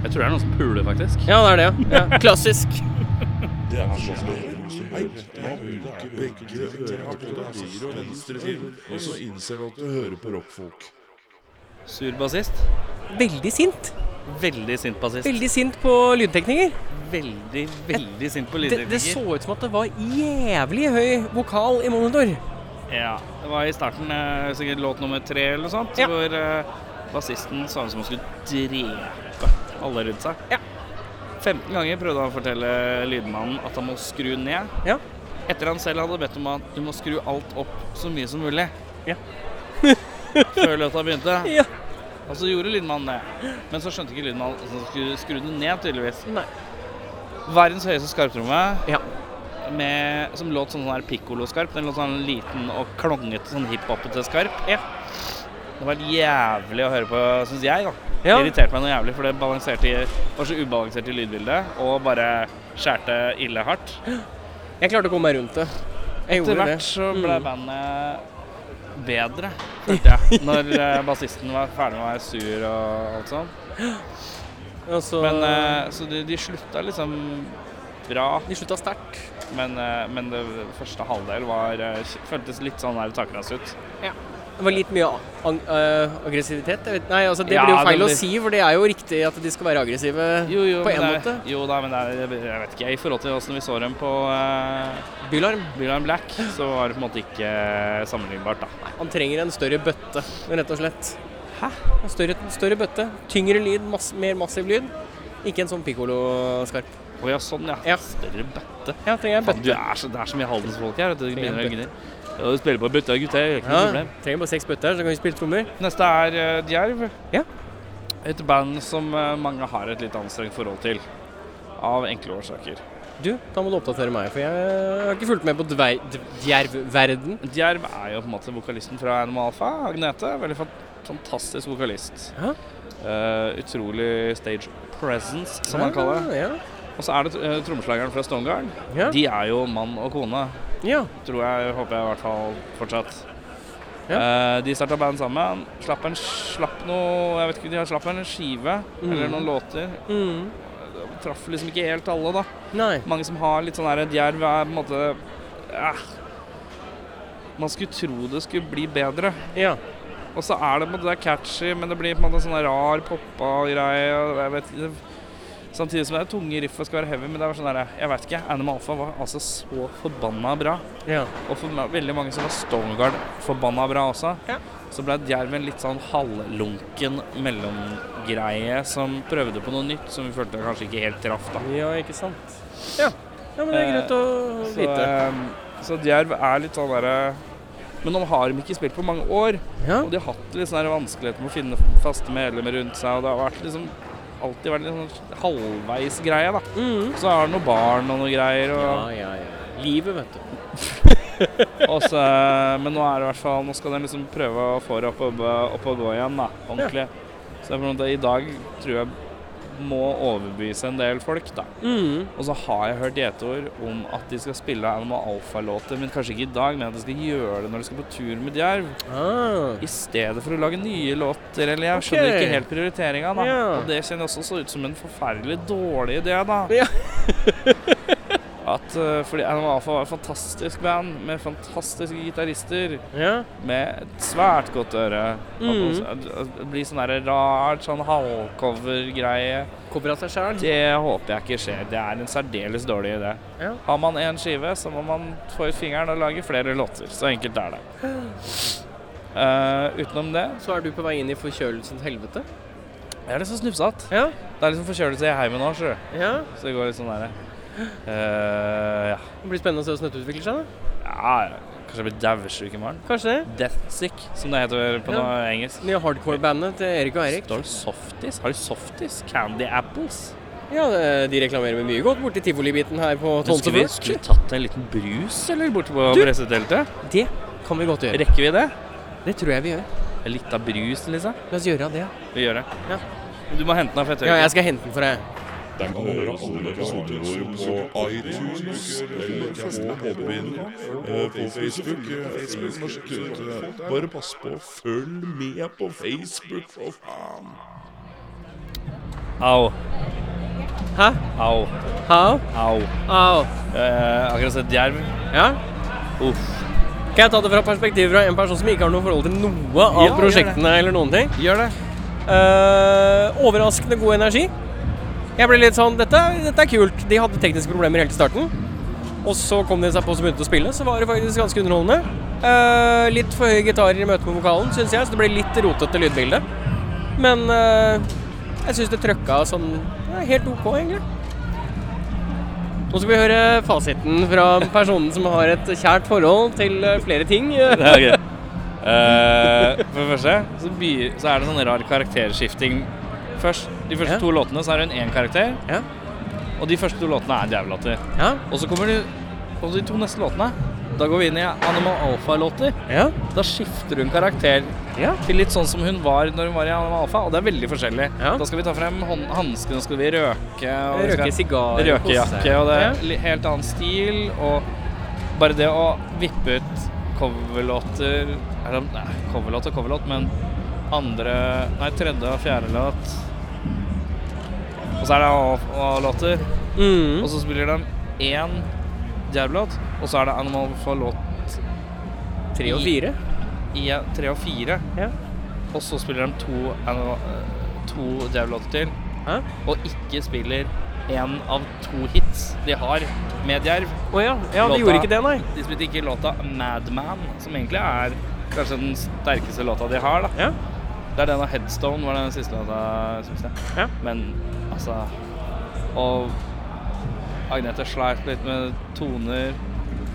Speaker 2: Jeg tror det er noen som puler, faktisk.
Speaker 3: Ja, det er det. ja. Ja. Klassisk.
Speaker 1: Det er så spennende. Man bruker begge ører til høyre og venstre til, og så innser du at du hører på rockfolk.
Speaker 2: Sur bassist.
Speaker 3: Veldig sint.
Speaker 2: Veldig sint bassist.
Speaker 3: Veldig sint på lydtekniker.
Speaker 2: veldig, veldig sint på
Speaker 3: Det, det så ut som at det var jævlig høy vokal i monitor.
Speaker 2: Ja, det var i starten, eh, sikkert låt nummer tre eller noe sånt,
Speaker 3: Ja.
Speaker 2: hvor eh, bassisten sa som om han skulle drepe alle rundt seg.
Speaker 3: Ja.
Speaker 2: 15 ganger prøvde han å fortelle lydmannen at han må skru ned.
Speaker 3: Ja.
Speaker 2: Etter han selv hadde bedt om at du må skru alt opp så mye som mulig.
Speaker 3: Ja.
Speaker 2: Før låta begynte.
Speaker 3: Ja.
Speaker 2: Og så gjorde lydmannen det. Men så skjønte ikke lydmannen at han skulle skru den ned, tydeligvis.
Speaker 3: Nei.
Speaker 2: Verdens høyeste skarptromme
Speaker 3: Ja.
Speaker 2: med, som låt sånn her pikkoloskarp. Den låt sånn liten og klongete, sånn hiphopete skarp.
Speaker 3: Ja.
Speaker 2: Det var jævlig å høre på, syns jeg, da.
Speaker 3: Ja.
Speaker 2: Det irriterte meg noe jævlig, for det balanserte i, var så ubalansert i lydbildet, og bare skjærte ille hardt.
Speaker 3: Jeg klarte å komme meg rundt det. Jeg
Speaker 2: Etter
Speaker 3: gjorde
Speaker 2: hvert
Speaker 3: det.
Speaker 2: så
Speaker 3: Mm.
Speaker 2: ble bandet bedre, følte jeg, når eh, bassisten var ferdig med å være sur og alt sånt.
Speaker 3: Og så-
Speaker 2: Men, eh, så de, de slutta liksom bra,
Speaker 3: de slutta sterkt.
Speaker 2: men, eh, men det første halvdel var, eh, føltes litt sånn der takras ut.
Speaker 3: Det var litt mye ang eh, aggressivitet. Jeg vet. Nei, altså, det
Speaker 2: Ja,
Speaker 3: blir jo feil
Speaker 2: det
Speaker 3: å
Speaker 2: blir-
Speaker 3: si, for det er jo riktig at de skal være aggressive.
Speaker 2: Jo, jo,
Speaker 3: På
Speaker 2: men
Speaker 3: en
Speaker 2: det er-
Speaker 3: måte.
Speaker 2: Jo da, men det er, jeg vet ikke. I forhold til åssen vi så dem på eh,
Speaker 3: Bylarm.
Speaker 2: Bylarm Black, så var det på en måte ikke eh, sammenlignbart, da.
Speaker 3: Han trenger en større bøtte, rett og slett. Hæ? En større, en større bøtte. Tyngre lyd, mass, mer massiv lyd. Ikke en sånn piccolo-skarp.
Speaker 2: Å ja, sånn, ja.
Speaker 3: Ja.
Speaker 2: Større bøtte.
Speaker 3: Ja, trenger jeg en
Speaker 2: Faen,
Speaker 3: bøtte.
Speaker 2: du er så, det er så mye Haldens-folk her. vet Du Du
Speaker 3: Trenger en
Speaker 2: begynner å gnir. Ja, du spiller på bøtta, gutter. Ikke noe
Speaker 3: Ja,
Speaker 2: problem.
Speaker 3: trenger bare seks bøtter, så kan vi spille trommer.
Speaker 2: Neste er eh, Djerv.
Speaker 3: Ja.
Speaker 2: Et band som eh, mange har et litt anstrengt forhold til. Av enkle årsaker.
Speaker 3: Du, da må du oppdatere meg, for jeg har ikke fulgt med på dver- d- djervverden.
Speaker 2: Djerv er jo på en måte vokalisten fra Animal Alpha, Agnete. Veldig fa- fantastisk vokalist.
Speaker 3: Ja.
Speaker 2: Eh, utrolig stage presence, som man kaller det.
Speaker 3: Ja,
Speaker 2: Og så er det uh, trommeslageren fra Stonegarden.
Speaker 3: ja.
Speaker 2: De er jo mann og kone,
Speaker 3: ja.
Speaker 2: tror jeg, håper jeg i hvert fall fortsatt. Eh, de starta band sammen. Slapp en slapp noe Jeg vet ikke, de har slapp en skive
Speaker 3: Mm.
Speaker 2: eller noen låter.
Speaker 3: Mm.
Speaker 2: Traff liksom ikke helt alle, da.
Speaker 3: Nei.
Speaker 2: Mange som har litt sånn her Djerv er på en måte eh, Man skulle tro det skulle bli bedre.
Speaker 3: Ja.
Speaker 2: Og så er det på en måte det er catchy, men det blir på en måte sånn rar poppa greie. og Jeg vet ikke. Samtidig som det er tunge riff og skal være heavy, men det er bare sånn der, jeg vet ikke. Animal Alpha var altså så forbanna bra.
Speaker 3: Ja.
Speaker 2: Og for meg- veldig mange som var Stoneguard forbanna bra også.
Speaker 3: Ja.
Speaker 2: Så ble Djerv en litt sånn halvlunken mellomgreie som prøvde på noe nytt som vi følte kanskje ikke helt traff, da.
Speaker 3: Ja, ikke sant. Ja. Ja, men det Eh, er greit å
Speaker 2: Så, ehm,
Speaker 3: vite.
Speaker 2: eh, så Djerv er litt sånn derre Men nå har de ikke spilt på mange år,
Speaker 3: Ja.
Speaker 2: og de har hatt litt sånne her vanskeligheter med å finne faste medlemmer rundt seg, og det har vært liksom alltid vært litt sånn halvveis greie, da.
Speaker 3: Mm.
Speaker 2: Så har de noen barn og noen greier, og,
Speaker 3: ja, ja, ja. Livet, vet du.
Speaker 2: og så, men nå er det i hvert fall Nå skal de liksom prøve å få det opp og, opp og gå igjen, da. Ordentlig. Så det er på en måte, i dag tror jeg må overbevise en del folk, da.
Speaker 3: Mm.
Speaker 2: Og så har jeg hørt gjeteord om at de skal spille Animal Alpha-låter, men kanskje ikke i dag, men at de skal gjøre det når de skal på tur med djerv.
Speaker 3: Ah.
Speaker 2: I stedet for å lage nye låter, eller jeg skjønner
Speaker 3: Ok.
Speaker 2: ikke helt prioriteringa, da.
Speaker 3: Ja.
Speaker 2: Og det kjenner også så ut som en forferdelig dårlig idé, da.
Speaker 3: Ja.
Speaker 2: At, eh, fordi Animal Alpha var et fantastisk band med fantastiske gitarister
Speaker 3: Ja.
Speaker 2: med et svært godt øre.
Speaker 3: Mhm.
Speaker 2: At Det at det blir sånn der rart sånn halvcover-greie.
Speaker 3: Kommer av seg sjæl.
Speaker 2: Det håper jeg ikke skjer. Det er en særdeles dårlig idé.
Speaker 3: Ja.
Speaker 2: Har man én skive, så må man få ut fingeren og lage flere låter. Så enkelt er det. Eh, utenom det
Speaker 3: Så er du på vei inn i forkjølelsens helvete.
Speaker 2: Jeg er liksom snufsete.
Speaker 3: Ja.
Speaker 2: Det er liksom forkjølelse i heimen nå, sjø.
Speaker 3: ja.
Speaker 2: Så det går litt sånn derre eh, ja.
Speaker 3: Det blir spennende å se hvordan dette utvikler seg. da.
Speaker 2: ja. ja. Kanskje jeg blir daudsjuk i morgen.
Speaker 3: Kanskje det.
Speaker 2: Deathsick, som det heter på
Speaker 3: Ja.
Speaker 2: noe engelsk.
Speaker 3: Nye hardcore-bandet til Erik og Eirik.
Speaker 2: Står det softis? Har de softis? Candy apples?
Speaker 3: Ja, det- de reklamerer med mye godt borti tivolibiten her på
Speaker 2: Du, Skulle vi
Speaker 3: Tonsefjord.
Speaker 2: skulle vi tatt en liten brus, eller, borte på
Speaker 3: Du!
Speaker 2: presseteltet?
Speaker 3: Det kan vi godt gjøre.
Speaker 2: Rekker vi det?
Speaker 3: Det tror jeg vi gjør.
Speaker 2: En liten brus, liksom?
Speaker 3: La oss gjøre det.
Speaker 2: Vi gjør det.
Speaker 3: Ja.
Speaker 2: Men Du må hente den av fettøyet.
Speaker 3: Ja, jeg skal hente den for deg.
Speaker 1: Der kan du høre alle episodene våre på iTunes, eller på Podbean, eh, på Facebook. eh, Facebook må sjekke ut det. Bare pass på, følg med på Facebook, for faen!
Speaker 2: Au,
Speaker 3: Hæ?
Speaker 2: au,
Speaker 3: How?
Speaker 2: au.
Speaker 3: Au.
Speaker 2: Eh, akkurat sett jerv.
Speaker 3: Ja?
Speaker 2: Uff.
Speaker 3: Kan jeg ta det fra perspektivet fra en person som ikke har noe forhold til noe av
Speaker 2: Ja, gjør
Speaker 3: prosjektene eller noen ting?
Speaker 2: Gjør det.
Speaker 3: Eh, overraskende god energi. Jeg ble litt sånn dette, dette er kult. De hadde tekniske problemer helt i starten. Og så kom de seg på som begynte å spille, så var det faktisk ganske underholdende. Eh, litt for høye gitarer i møte med vokalen, syns jeg, så det ble litt rotete lydbilde. Men eh, jeg syns det trøkka sånn ja, helt OK, egentlig. Nå skal vi høre fasiten fra personen som har et kjært forhold til eh, flere ting.
Speaker 2: Ja, ok. Eh, for det første så, by, så er det sånn rar karakterskifting. Først, de første
Speaker 3: Ja.
Speaker 2: to låtene så er hun én karakter,
Speaker 3: Ja.
Speaker 2: og de første to låtene er djevelåter.
Speaker 3: Ja.
Speaker 2: Og så kommer de, og de to neste låtene. Da går vi inn i Animal Alpha-låter.
Speaker 3: Ja.
Speaker 2: Da skifter hun karakter
Speaker 3: Ja.
Speaker 2: til litt sånn som hun var når hun var i Animal Alpha, og det er veldig forskjellig.
Speaker 3: Ja.
Speaker 2: Da skal vi ta frem hånd- hanskene, og skal vi røke og vi skal-
Speaker 3: Røke sigar.
Speaker 2: Røkejakke, og det
Speaker 3: Ja.
Speaker 2: er li- helt annen stil. Og bare det å vippe ut coverlåter eller, Nei, coverlåt og coverlåt, men andre Nei, tredje og fjerde låt. Og så er det A- A-låter.
Speaker 3: Mm.
Speaker 2: Og så spiller de én Djerv-låt, og så er det Animal for låt
Speaker 3: Tre og fire.
Speaker 2: i tre og fire.
Speaker 3: Ja.
Speaker 2: Og så spiller de to, Animal- eh, to Djerv-låter til,
Speaker 3: Hæ?
Speaker 2: og ikke spiller én av to hits de har med Djerv.
Speaker 3: Å ja. ja,
Speaker 2: Låta-
Speaker 3: de gjorde ikke det, nei.
Speaker 2: De spilte ikke låta 'Madman', som egentlig er kanskje den sterkeste låta de har. da.
Speaker 3: Ja.
Speaker 2: Det er den av 'Headstone' var den siste låta, syns jeg.
Speaker 3: Ja.
Speaker 2: Men altså Og Agnete sleit litt med toner.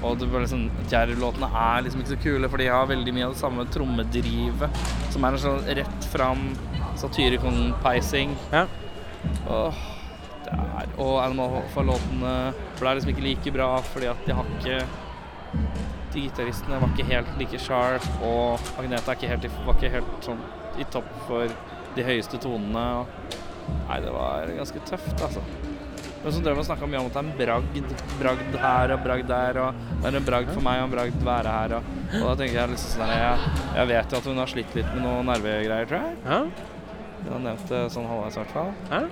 Speaker 2: Og det var liksom, Djerv-låtene er liksom ikke så kule, for de har veldig mye av det samme trommedrivet. Som er en sånn rett fram Satyricon-peising.
Speaker 3: Ja.
Speaker 2: Åh, det er, og Animal Alpha-låtene ble liksom ikke like bra fordi at de har ikke De gitaristene var ikke helt like sharp, og Agneta er ikke helt, i- var ikke helt sånn i topp for de høyeste tonene. Og, nei, det var ganske tøft, altså. Men så drev vi og snakka mye om at det er en bragd. Bragd her og bragd der. Og det er en bragd for meg og en bragd være her. Og, og da tenker jeg liksom sånn her jeg, jeg vet jo at hun har slitt litt med noen nervegreier, tror jeg.
Speaker 3: Ja.
Speaker 2: Hun har nevnt det sånn halvveis, i hvert fall.
Speaker 3: Ja.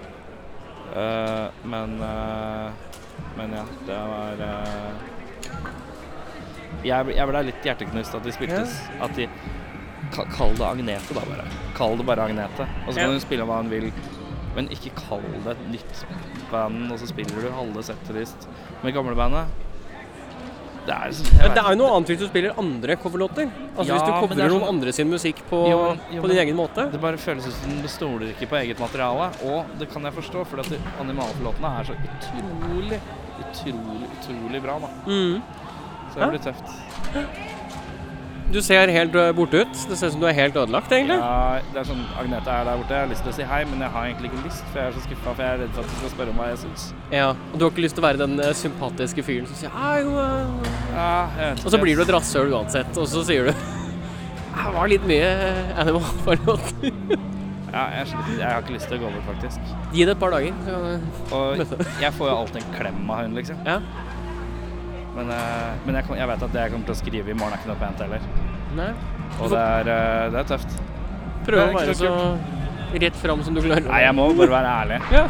Speaker 2: Eh, men eh, Men ja, det var eh, jeg, ble- jeg ble litt hjerteknust at de spilte
Speaker 3: Ja.
Speaker 2: s- At de ka- Kall det Agnete, da bare. Kall det bare Agnete. Og så
Speaker 3: Ja.
Speaker 2: kan hun spille hva hun vil. Men ikke kall det et nytt band, og så spiller du halve setterist med gamlebandet. Det er liksom jeg
Speaker 3: Men det
Speaker 2: vet
Speaker 3: er jo noe annet hvis du spiller andre coverlåter. Altså
Speaker 2: Ja,
Speaker 3: Hvis
Speaker 2: men det
Speaker 3: du
Speaker 2: er
Speaker 3: covrer
Speaker 2: sånn-
Speaker 3: noen andre sin musikk på,
Speaker 2: Jo, men- jo,
Speaker 3: på din
Speaker 2: men-
Speaker 3: egen måte.
Speaker 2: Det bare føles ut som du stoler ikke på eget materiale, og det kan jeg forstå, for animalforlåtene er så utrolig, utrolig, utrolig bra, da.
Speaker 3: Mm.
Speaker 2: Så det blir tøft.
Speaker 3: Du ser helt eh, borte ut. Det ser ut som du er helt ødelagt, egentlig.
Speaker 2: Ja, det er sånn, Agnete er der borte. Jeg har lyst til å si hei, men jeg har egentlig ikke lyst, for jeg er så skuffa. For jeg er redd for at du skal spørre om hva jeg syns.
Speaker 3: Ja, og du har ikke lyst til å være den eh, sympatiske fyren som sier «Ai, jo, eh».
Speaker 2: Ja, jeg vet
Speaker 3: Og så
Speaker 2: ikke.
Speaker 3: blir du et rasshøl uansett, og så sier du Det var litt mye eh, animal farmat.
Speaker 2: Ja, jeg, sliter. jeg har ikke lyst til å gå bort, faktisk.
Speaker 3: Gi det et par dager. Så kan du...
Speaker 2: Og
Speaker 3: Møte.
Speaker 2: jeg får jo alltid en klem av hun, liksom.
Speaker 3: Ja.
Speaker 2: Men, eh, men jeg, kom- jeg vet at det jeg kommer til å skrive i morgen, er ikke noe pent heller.
Speaker 3: Nei.
Speaker 2: Og det er, eh, det er tøft. Det
Speaker 3: Prøv å
Speaker 2: er
Speaker 3: være
Speaker 2: ikke så
Speaker 3: så rett fram som du klarer.
Speaker 2: Nei, jeg må bare være ærlig.
Speaker 3: Ja.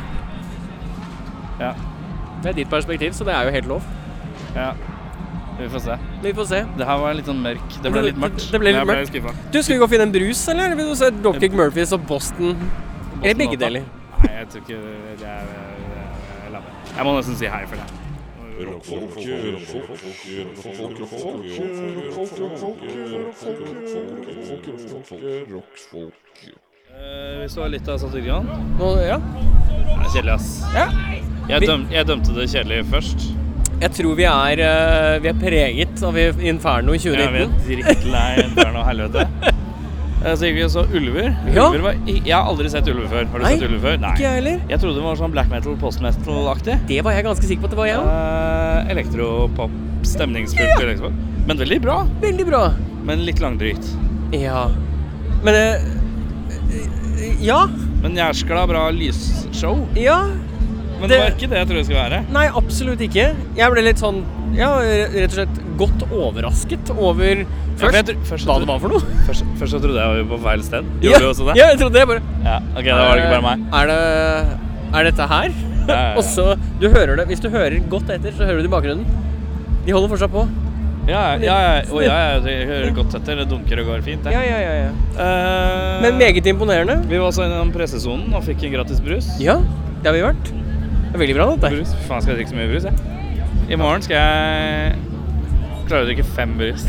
Speaker 2: Ja.
Speaker 3: Det er ditt perspektiv, så det er jo helt lov.
Speaker 2: ja. Vi får se.
Speaker 3: Vi får se.
Speaker 2: Det her var litt sånn mørk. Det ble litt mørkt.
Speaker 3: Det ble litt
Speaker 2: Men jeg
Speaker 3: mørkt.
Speaker 2: ble skuffa.
Speaker 3: Du, skal vi gå og finne en brus, eller vil du se Dropkick Murphys og Boston? Eller begge deler.
Speaker 2: Nei, jeg tror ikke det er, det er labbe. Jeg må nesten si hei for det.
Speaker 1: Rockfolk, rockfolk, rockfolk, rockfolk, rockfolk, rockfolk, rockfolk, rockfolk.
Speaker 2: vi så litt av Satyricon.
Speaker 3: Nå, ja.
Speaker 2: Det er kjedelig, ass.
Speaker 3: ja.
Speaker 2: Jeg,
Speaker 3: Vi-
Speaker 2: døm, jeg dømte det kjedelig først.
Speaker 3: Jeg tror vi er, eh, vi er preget av Inferno i
Speaker 2: Jeg
Speaker 3: 2019.
Speaker 2: vet drittlei Bjørn og helvete. Eh, Så gikk vi og så ulver.
Speaker 3: Ja.
Speaker 2: ulver var, i- jeg har aldri sett ulver før. Har du
Speaker 3: Nei,
Speaker 2: sett ulver før?
Speaker 3: Ikke jeg heller.
Speaker 2: Jeg trodde det var sånn black metal, post metal-aktig.
Speaker 3: Det var jeg ganske sikker på at det var jeg òg.
Speaker 2: Eh, Elektropop, stemningsfullt.
Speaker 3: Ja.
Speaker 2: elektropop. Men veldig bra.
Speaker 3: Veldig bra.
Speaker 2: Men litt langdrygt.
Speaker 3: Ja. Men eh, eh, Ja.
Speaker 2: Men jæskla bra lysshow.
Speaker 3: Ja.
Speaker 2: Men det,
Speaker 3: Det-
Speaker 2: var ikke det jeg trodde det skulle være.
Speaker 3: Nei, absolutt ikke. Jeg ble litt sånn Ja, rett og slett godt overrasket over
Speaker 2: Ja, for jeg
Speaker 3: først
Speaker 2: tro- først så
Speaker 3: hva
Speaker 2: tro-
Speaker 3: det var for noe.
Speaker 2: Først, først så trodde jeg var på feil sted. Gjorde
Speaker 3: ja,
Speaker 2: du også det?
Speaker 3: Ja, jeg trodde det. Bare
Speaker 2: Ja, Ok, da var det ikke bare meg.
Speaker 3: Eh, Er det Er dette her?
Speaker 2: Ja, ja, ja.
Speaker 3: Og så Du hører det Hvis du hører godt etter, så hører du det i bakgrunnen. De holder fortsatt på.
Speaker 2: Ja, ja, ja, og ja, ja, altså, jeg hører godt etter. Det dunker og går fint. det.
Speaker 3: Ja, ja, ja, ja.
Speaker 2: Eh,
Speaker 3: Men meget imponerende.
Speaker 2: Vi var også innom pressesonen og fikk en gratis brus.
Speaker 3: Ja, det har vi vært. Det er veldig bra, dette.
Speaker 2: Brus? Fy faen, skal jeg drikke så mye brus, jeg. I morgen skal jeg klare å drikke fem brus.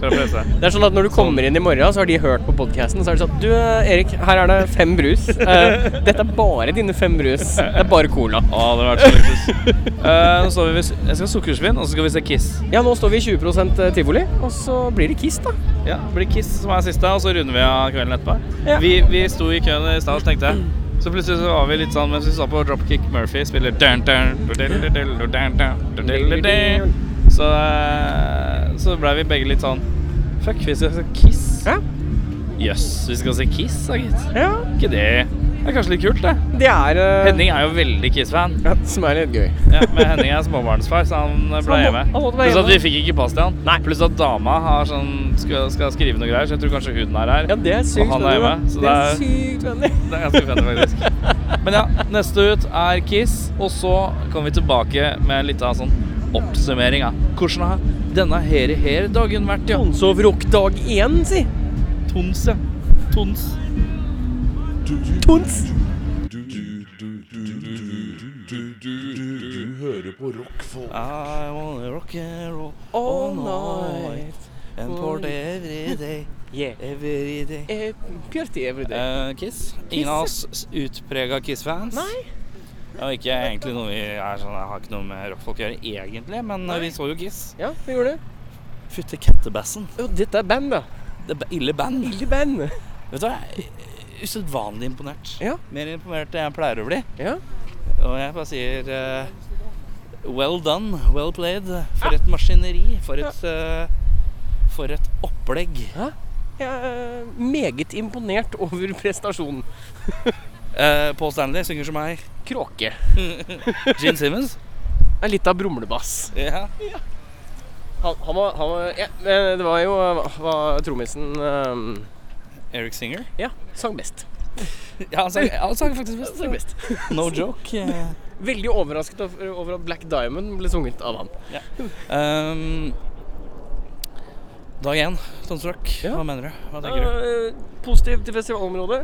Speaker 2: Fra presse.
Speaker 3: Det er sånn at Når du kommer inn i morgen, så har de hørt på podkasten. Så er det sånn Du, Erik, her er det fem brus. Eh, dette er bare dine fem brus. Det er bare cola.
Speaker 2: Å, det hadde vært så luksus. Eh, nå står vi ved s- Jeg skal ha sukkersvinn, og så skal vi se Kiss.
Speaker 3: Ja, nå står vi i 20 tivoli, og så blir det Kiss, da.
Speaker 2: Ja, det blir Kiss som er siste, og så runder vi av kvelden etterpå.
Speaker 3: Ja.
Speaker 2: Vi, vi sto i køen i stad, så tenkte jeg. Så plutselig så var vi litt sånn mens vi så på Dropkick Murphy spiller dun, dun, dun, dun, dun, dun, dun, dun, dun, dun, dun. Så, eh, så ble vi begge litt sånn Fuck, vi skal se Kiss. Jøss,
Speaker 3: Ja.
Speaker 2: vi skal se Kiss, da, gitt.
Speaker 3: ja.
Speaker 2: Ikke det Det er kanskje litt kult, det.
Speaker 3: Det er eh,
Speaker 2: Henning er jo veldig Kiss-fan.
Speaker 3: Ja, som er litt gøy.
Speaker 2: Ja, men Henning er småbarnsfar, så han eh, ble
Speaker 3: han må-
Speaker 2: hjemme.
Speaker 3: han måtte være
Speaker 2: Pluss at vi
Speaker 3: hjemme.
Speaker 2: fikk ikke pass til han. Nei. Pluss at dama har sånn, skal, skal skrive noe greier, så jeg tror kanskje hun er her.
Speaker 3: Ja, det er
Speaker 2: Og
Speaker 3: sykt
Speaker 2: han er
Speaker 3: da.
Speaker 2: hjemme, så
Speaker 3: det er
Speaker 2: det
Speaker 3: sykt vennlig.
Speaker 2: Det er ganske fett, faktisk. Men ja, neste ut er Kiss, og så kommer vi tilbake med litt av sånn oppsummering av hvordan har denne her, her dagen vært, ja.
Speaker 3: Tonsov Rock dag én, si.
Speaker 2: Tons, ja. Tons.
Speaker 1: Du,
Speaker 3: Tons.
Speaker 1: du, du, du, du, du, du, du, du, du, du hører på rockfolk.
Speaker 2: I wanna rock and roll
Speaker 3: All night.
Speaker 2: and
Speaker 3: party
Speaker 2: every day,
Speaker 3: Yeah.
Speaker 2: every day.
Speaker 3: Eh, Pjørti every day.
Speaker 2: Eh, Kiss. Ingen av oss utprega Kiss-fans.
Speaker 3: Nei.
Speaker 2: Og ikke egentlig noe vi er sånn, jeg har ikke noe med rockfolk å gjøre egentlig, men eh, vi så jo Kiss.
Speaker 3: Ja, vi gjorde det.
Speaker 2: Fytte kettebassen.
Speaker 3: Jo, dette er band, da.
Speaker 2: Det er ba- ille band.
Speaker 3: Lille band.
Speaker 2: Vet du hva, jeg er usedvanlig imponert.
Speaker 3: Ja.
Speaker 2: Mer imponert enn jeg pleier å bli.
Speaker 3: Ja.
Speaker 2: Og jeg bare sier eh, well done, well played. For et maskineri. For et, eh, for et opplegg.
Speaker 3: Jeg er meget imponert over prestasjonen.
Speaker 2: Eh, Paul Stanley synger som meg.
Speaker 3: Kråke.
Speaker 2: Gene Simmons.
Speaker 3: Det er litt av brumlebass.
Speaker 2: Ja.
Speaker 3: Han, han var, han var ja, men Det var jo hva- hva trommisen ehm,
Speaker 2: Eric Singer.
Speaker 3: Ja, sang best.
Speaker 2: Ja, han sang, han sang faktisk
Speaker 3: Ja, sang
Speaker 2: best.
Speaker 3: best.
Speaker 2: No joke. eh.
Speaker 3: Veldig overrasket over- over at Black Diamond ble sunget av han.
Speaker 2: Um, dag én, Tons Rock.
Speaker 3: Ja.
Speaker 2: Hva mener du? Hva tenker du?
Speaker 3: Eh, positiv til festivalområdet.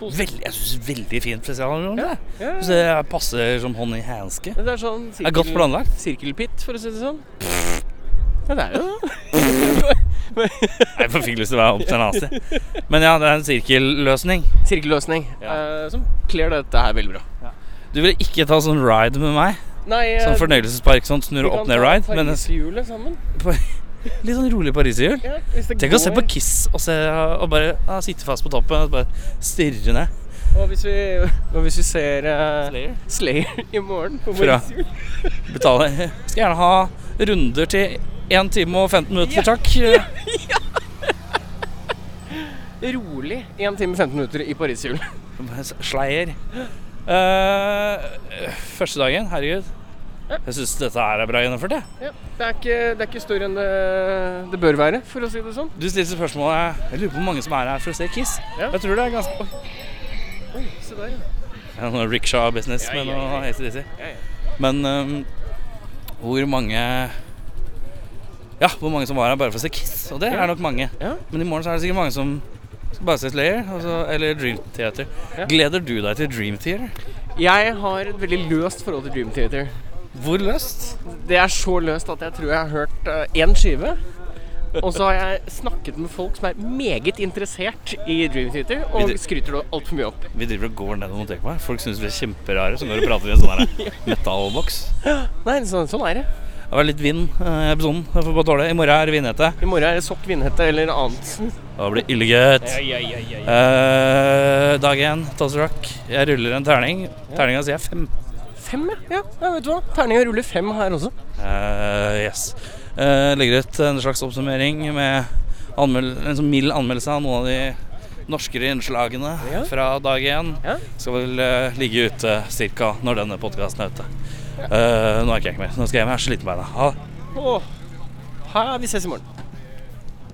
Speaker 2: Veldig, jeg synes veldig fint festivalområde.
Speaker 3: Ja, ja.
Speaker 2: Så det passer som hånd i hanske.
Speaker 3: Det er sånn
Speaker 2: Det er godt planlagt.
Speaker 3: sirkelpitt, for å si det sånn. Ja, det er jo det.
Speaker 2: Jeg får fikk lyst til å være opp til en annen sted. Men ja, det er en sirkelløsning.
Speaker 3: Sirkelløsning
Speaker 2: Ja.
Speaker 3: eh, som kler dette her veldig bra.
Speaker 2: Du vil ikke ta sånn ride med meg?
Speaker 3: Nei, eh,
Speaker 2: Sånn fornøyelsespark, sånn snurre opp ned ride? Men
Speaker 3: Vi kan ta fargeshjulet sammen.
Speaker 2: Litt sånn rolig pariserhjul. Tenk å se på Kiss og, se, og bare ja, sitte fast på toppen og bare stirre ned.
Speaker 3: Og hvis vi, og hvis vi ser eh,
Speaker 2: Slayer.
Speaker 3: Slayer i morgen på
Speaker 2: Fra-
Speaker 3: Morgenshjul
Speaker 2: Betale. Skal gjerne ha runder til 1 time og 15 minutter, takk.
Speaker 3: Rolig 1 time 15 minutter i Pariserhjul.
Speaker 2: Sleier. Eh, første dagen, herregud. Jeg syns dette her er bra gjennomført. jeg.
Speaker 3: Ja, det, er ikke, det er ikke større enn det, det bør være, for å si det sånn.
Speaker 2: Du stilte spørsmålet Jeg lurer på hvor mange som er her for å se Kiss.
Speaker 3: Ja.
Speaker 2: Jeg tror det er ganske Oi.
Speaker 3: Oi, se der, ja.
Speaker 2: Det er noe rickshaw-business med
Speaker 3: Ja, ja, ja,
Speaker 2: noe
Speaker 3: ja.
Speaker 2: ACDC.
Speaker 3: Ja, ja.
Speaker 2: Men ehm, hvor mange Ja, hvor mange som var her bare for å se Kiss? Og det
Speaker 3: Ja.
Speaker 2: er nok mange.
Speaker 3: Ja.
Speaker 2: Men i morgen så er det sikkert mange som skal bare se Slayer og så- eller Dream Theater.
Speaker 3: Ja.
Speaker 2: Gleder du deg til Dream Theater?
Speaker 3: Jeg har et veldig løst forhold til Dream Theater.
Speaker 2: Hvor løst?
Speaker 3: Det er så løst at jeg tror jeg har hørt én skive. Og så har jeg snakket med folk som er meget interessert i Dream Theater, og
Speaker 2: Vil du-
Speaker 3: skryter det altfor mye opp.
Speaker 2: Vi driver og går nedover mot Ekeberg. Folk syns vi er kjemperare som går og prater i en sånn her metallboks.
Speaker 3: Nei, sånn, sånn er det.
Speaker 2: Det var litt vind eh, i episoden. Jeg får bare tåle. det. I morgen er det vindhette.
Speaker 3: I morgen er det sokk, vindhette eller annet.
Speaker 2: Da blir det ille gøtt. Eh, dag én, Toss Rock. Jeg ruller en terning. Terninga sier fem.
Speaker 3: Fem, ja. ja. ja vet du hva. Terninga ruller fem her også.
Speaker 2: Eh, yes. Eh, legger ut en slags oppsummering med anmel en sånn mild anmeldelse av noen av de norskere innslagene
Speaker 3: Ja.
Speaker 2: fra dag én.
Speaker 3: Ja.
Speaker 2: Skal vel eh, ligge ute ca. når denne podkasten er ute. Eh, nå orker jeg ikke mer. Nå skal jeg hjem. Jeg er så sliten på beina. Ha det.
Speaker 3: Åh. Ha, vi ses i morgen.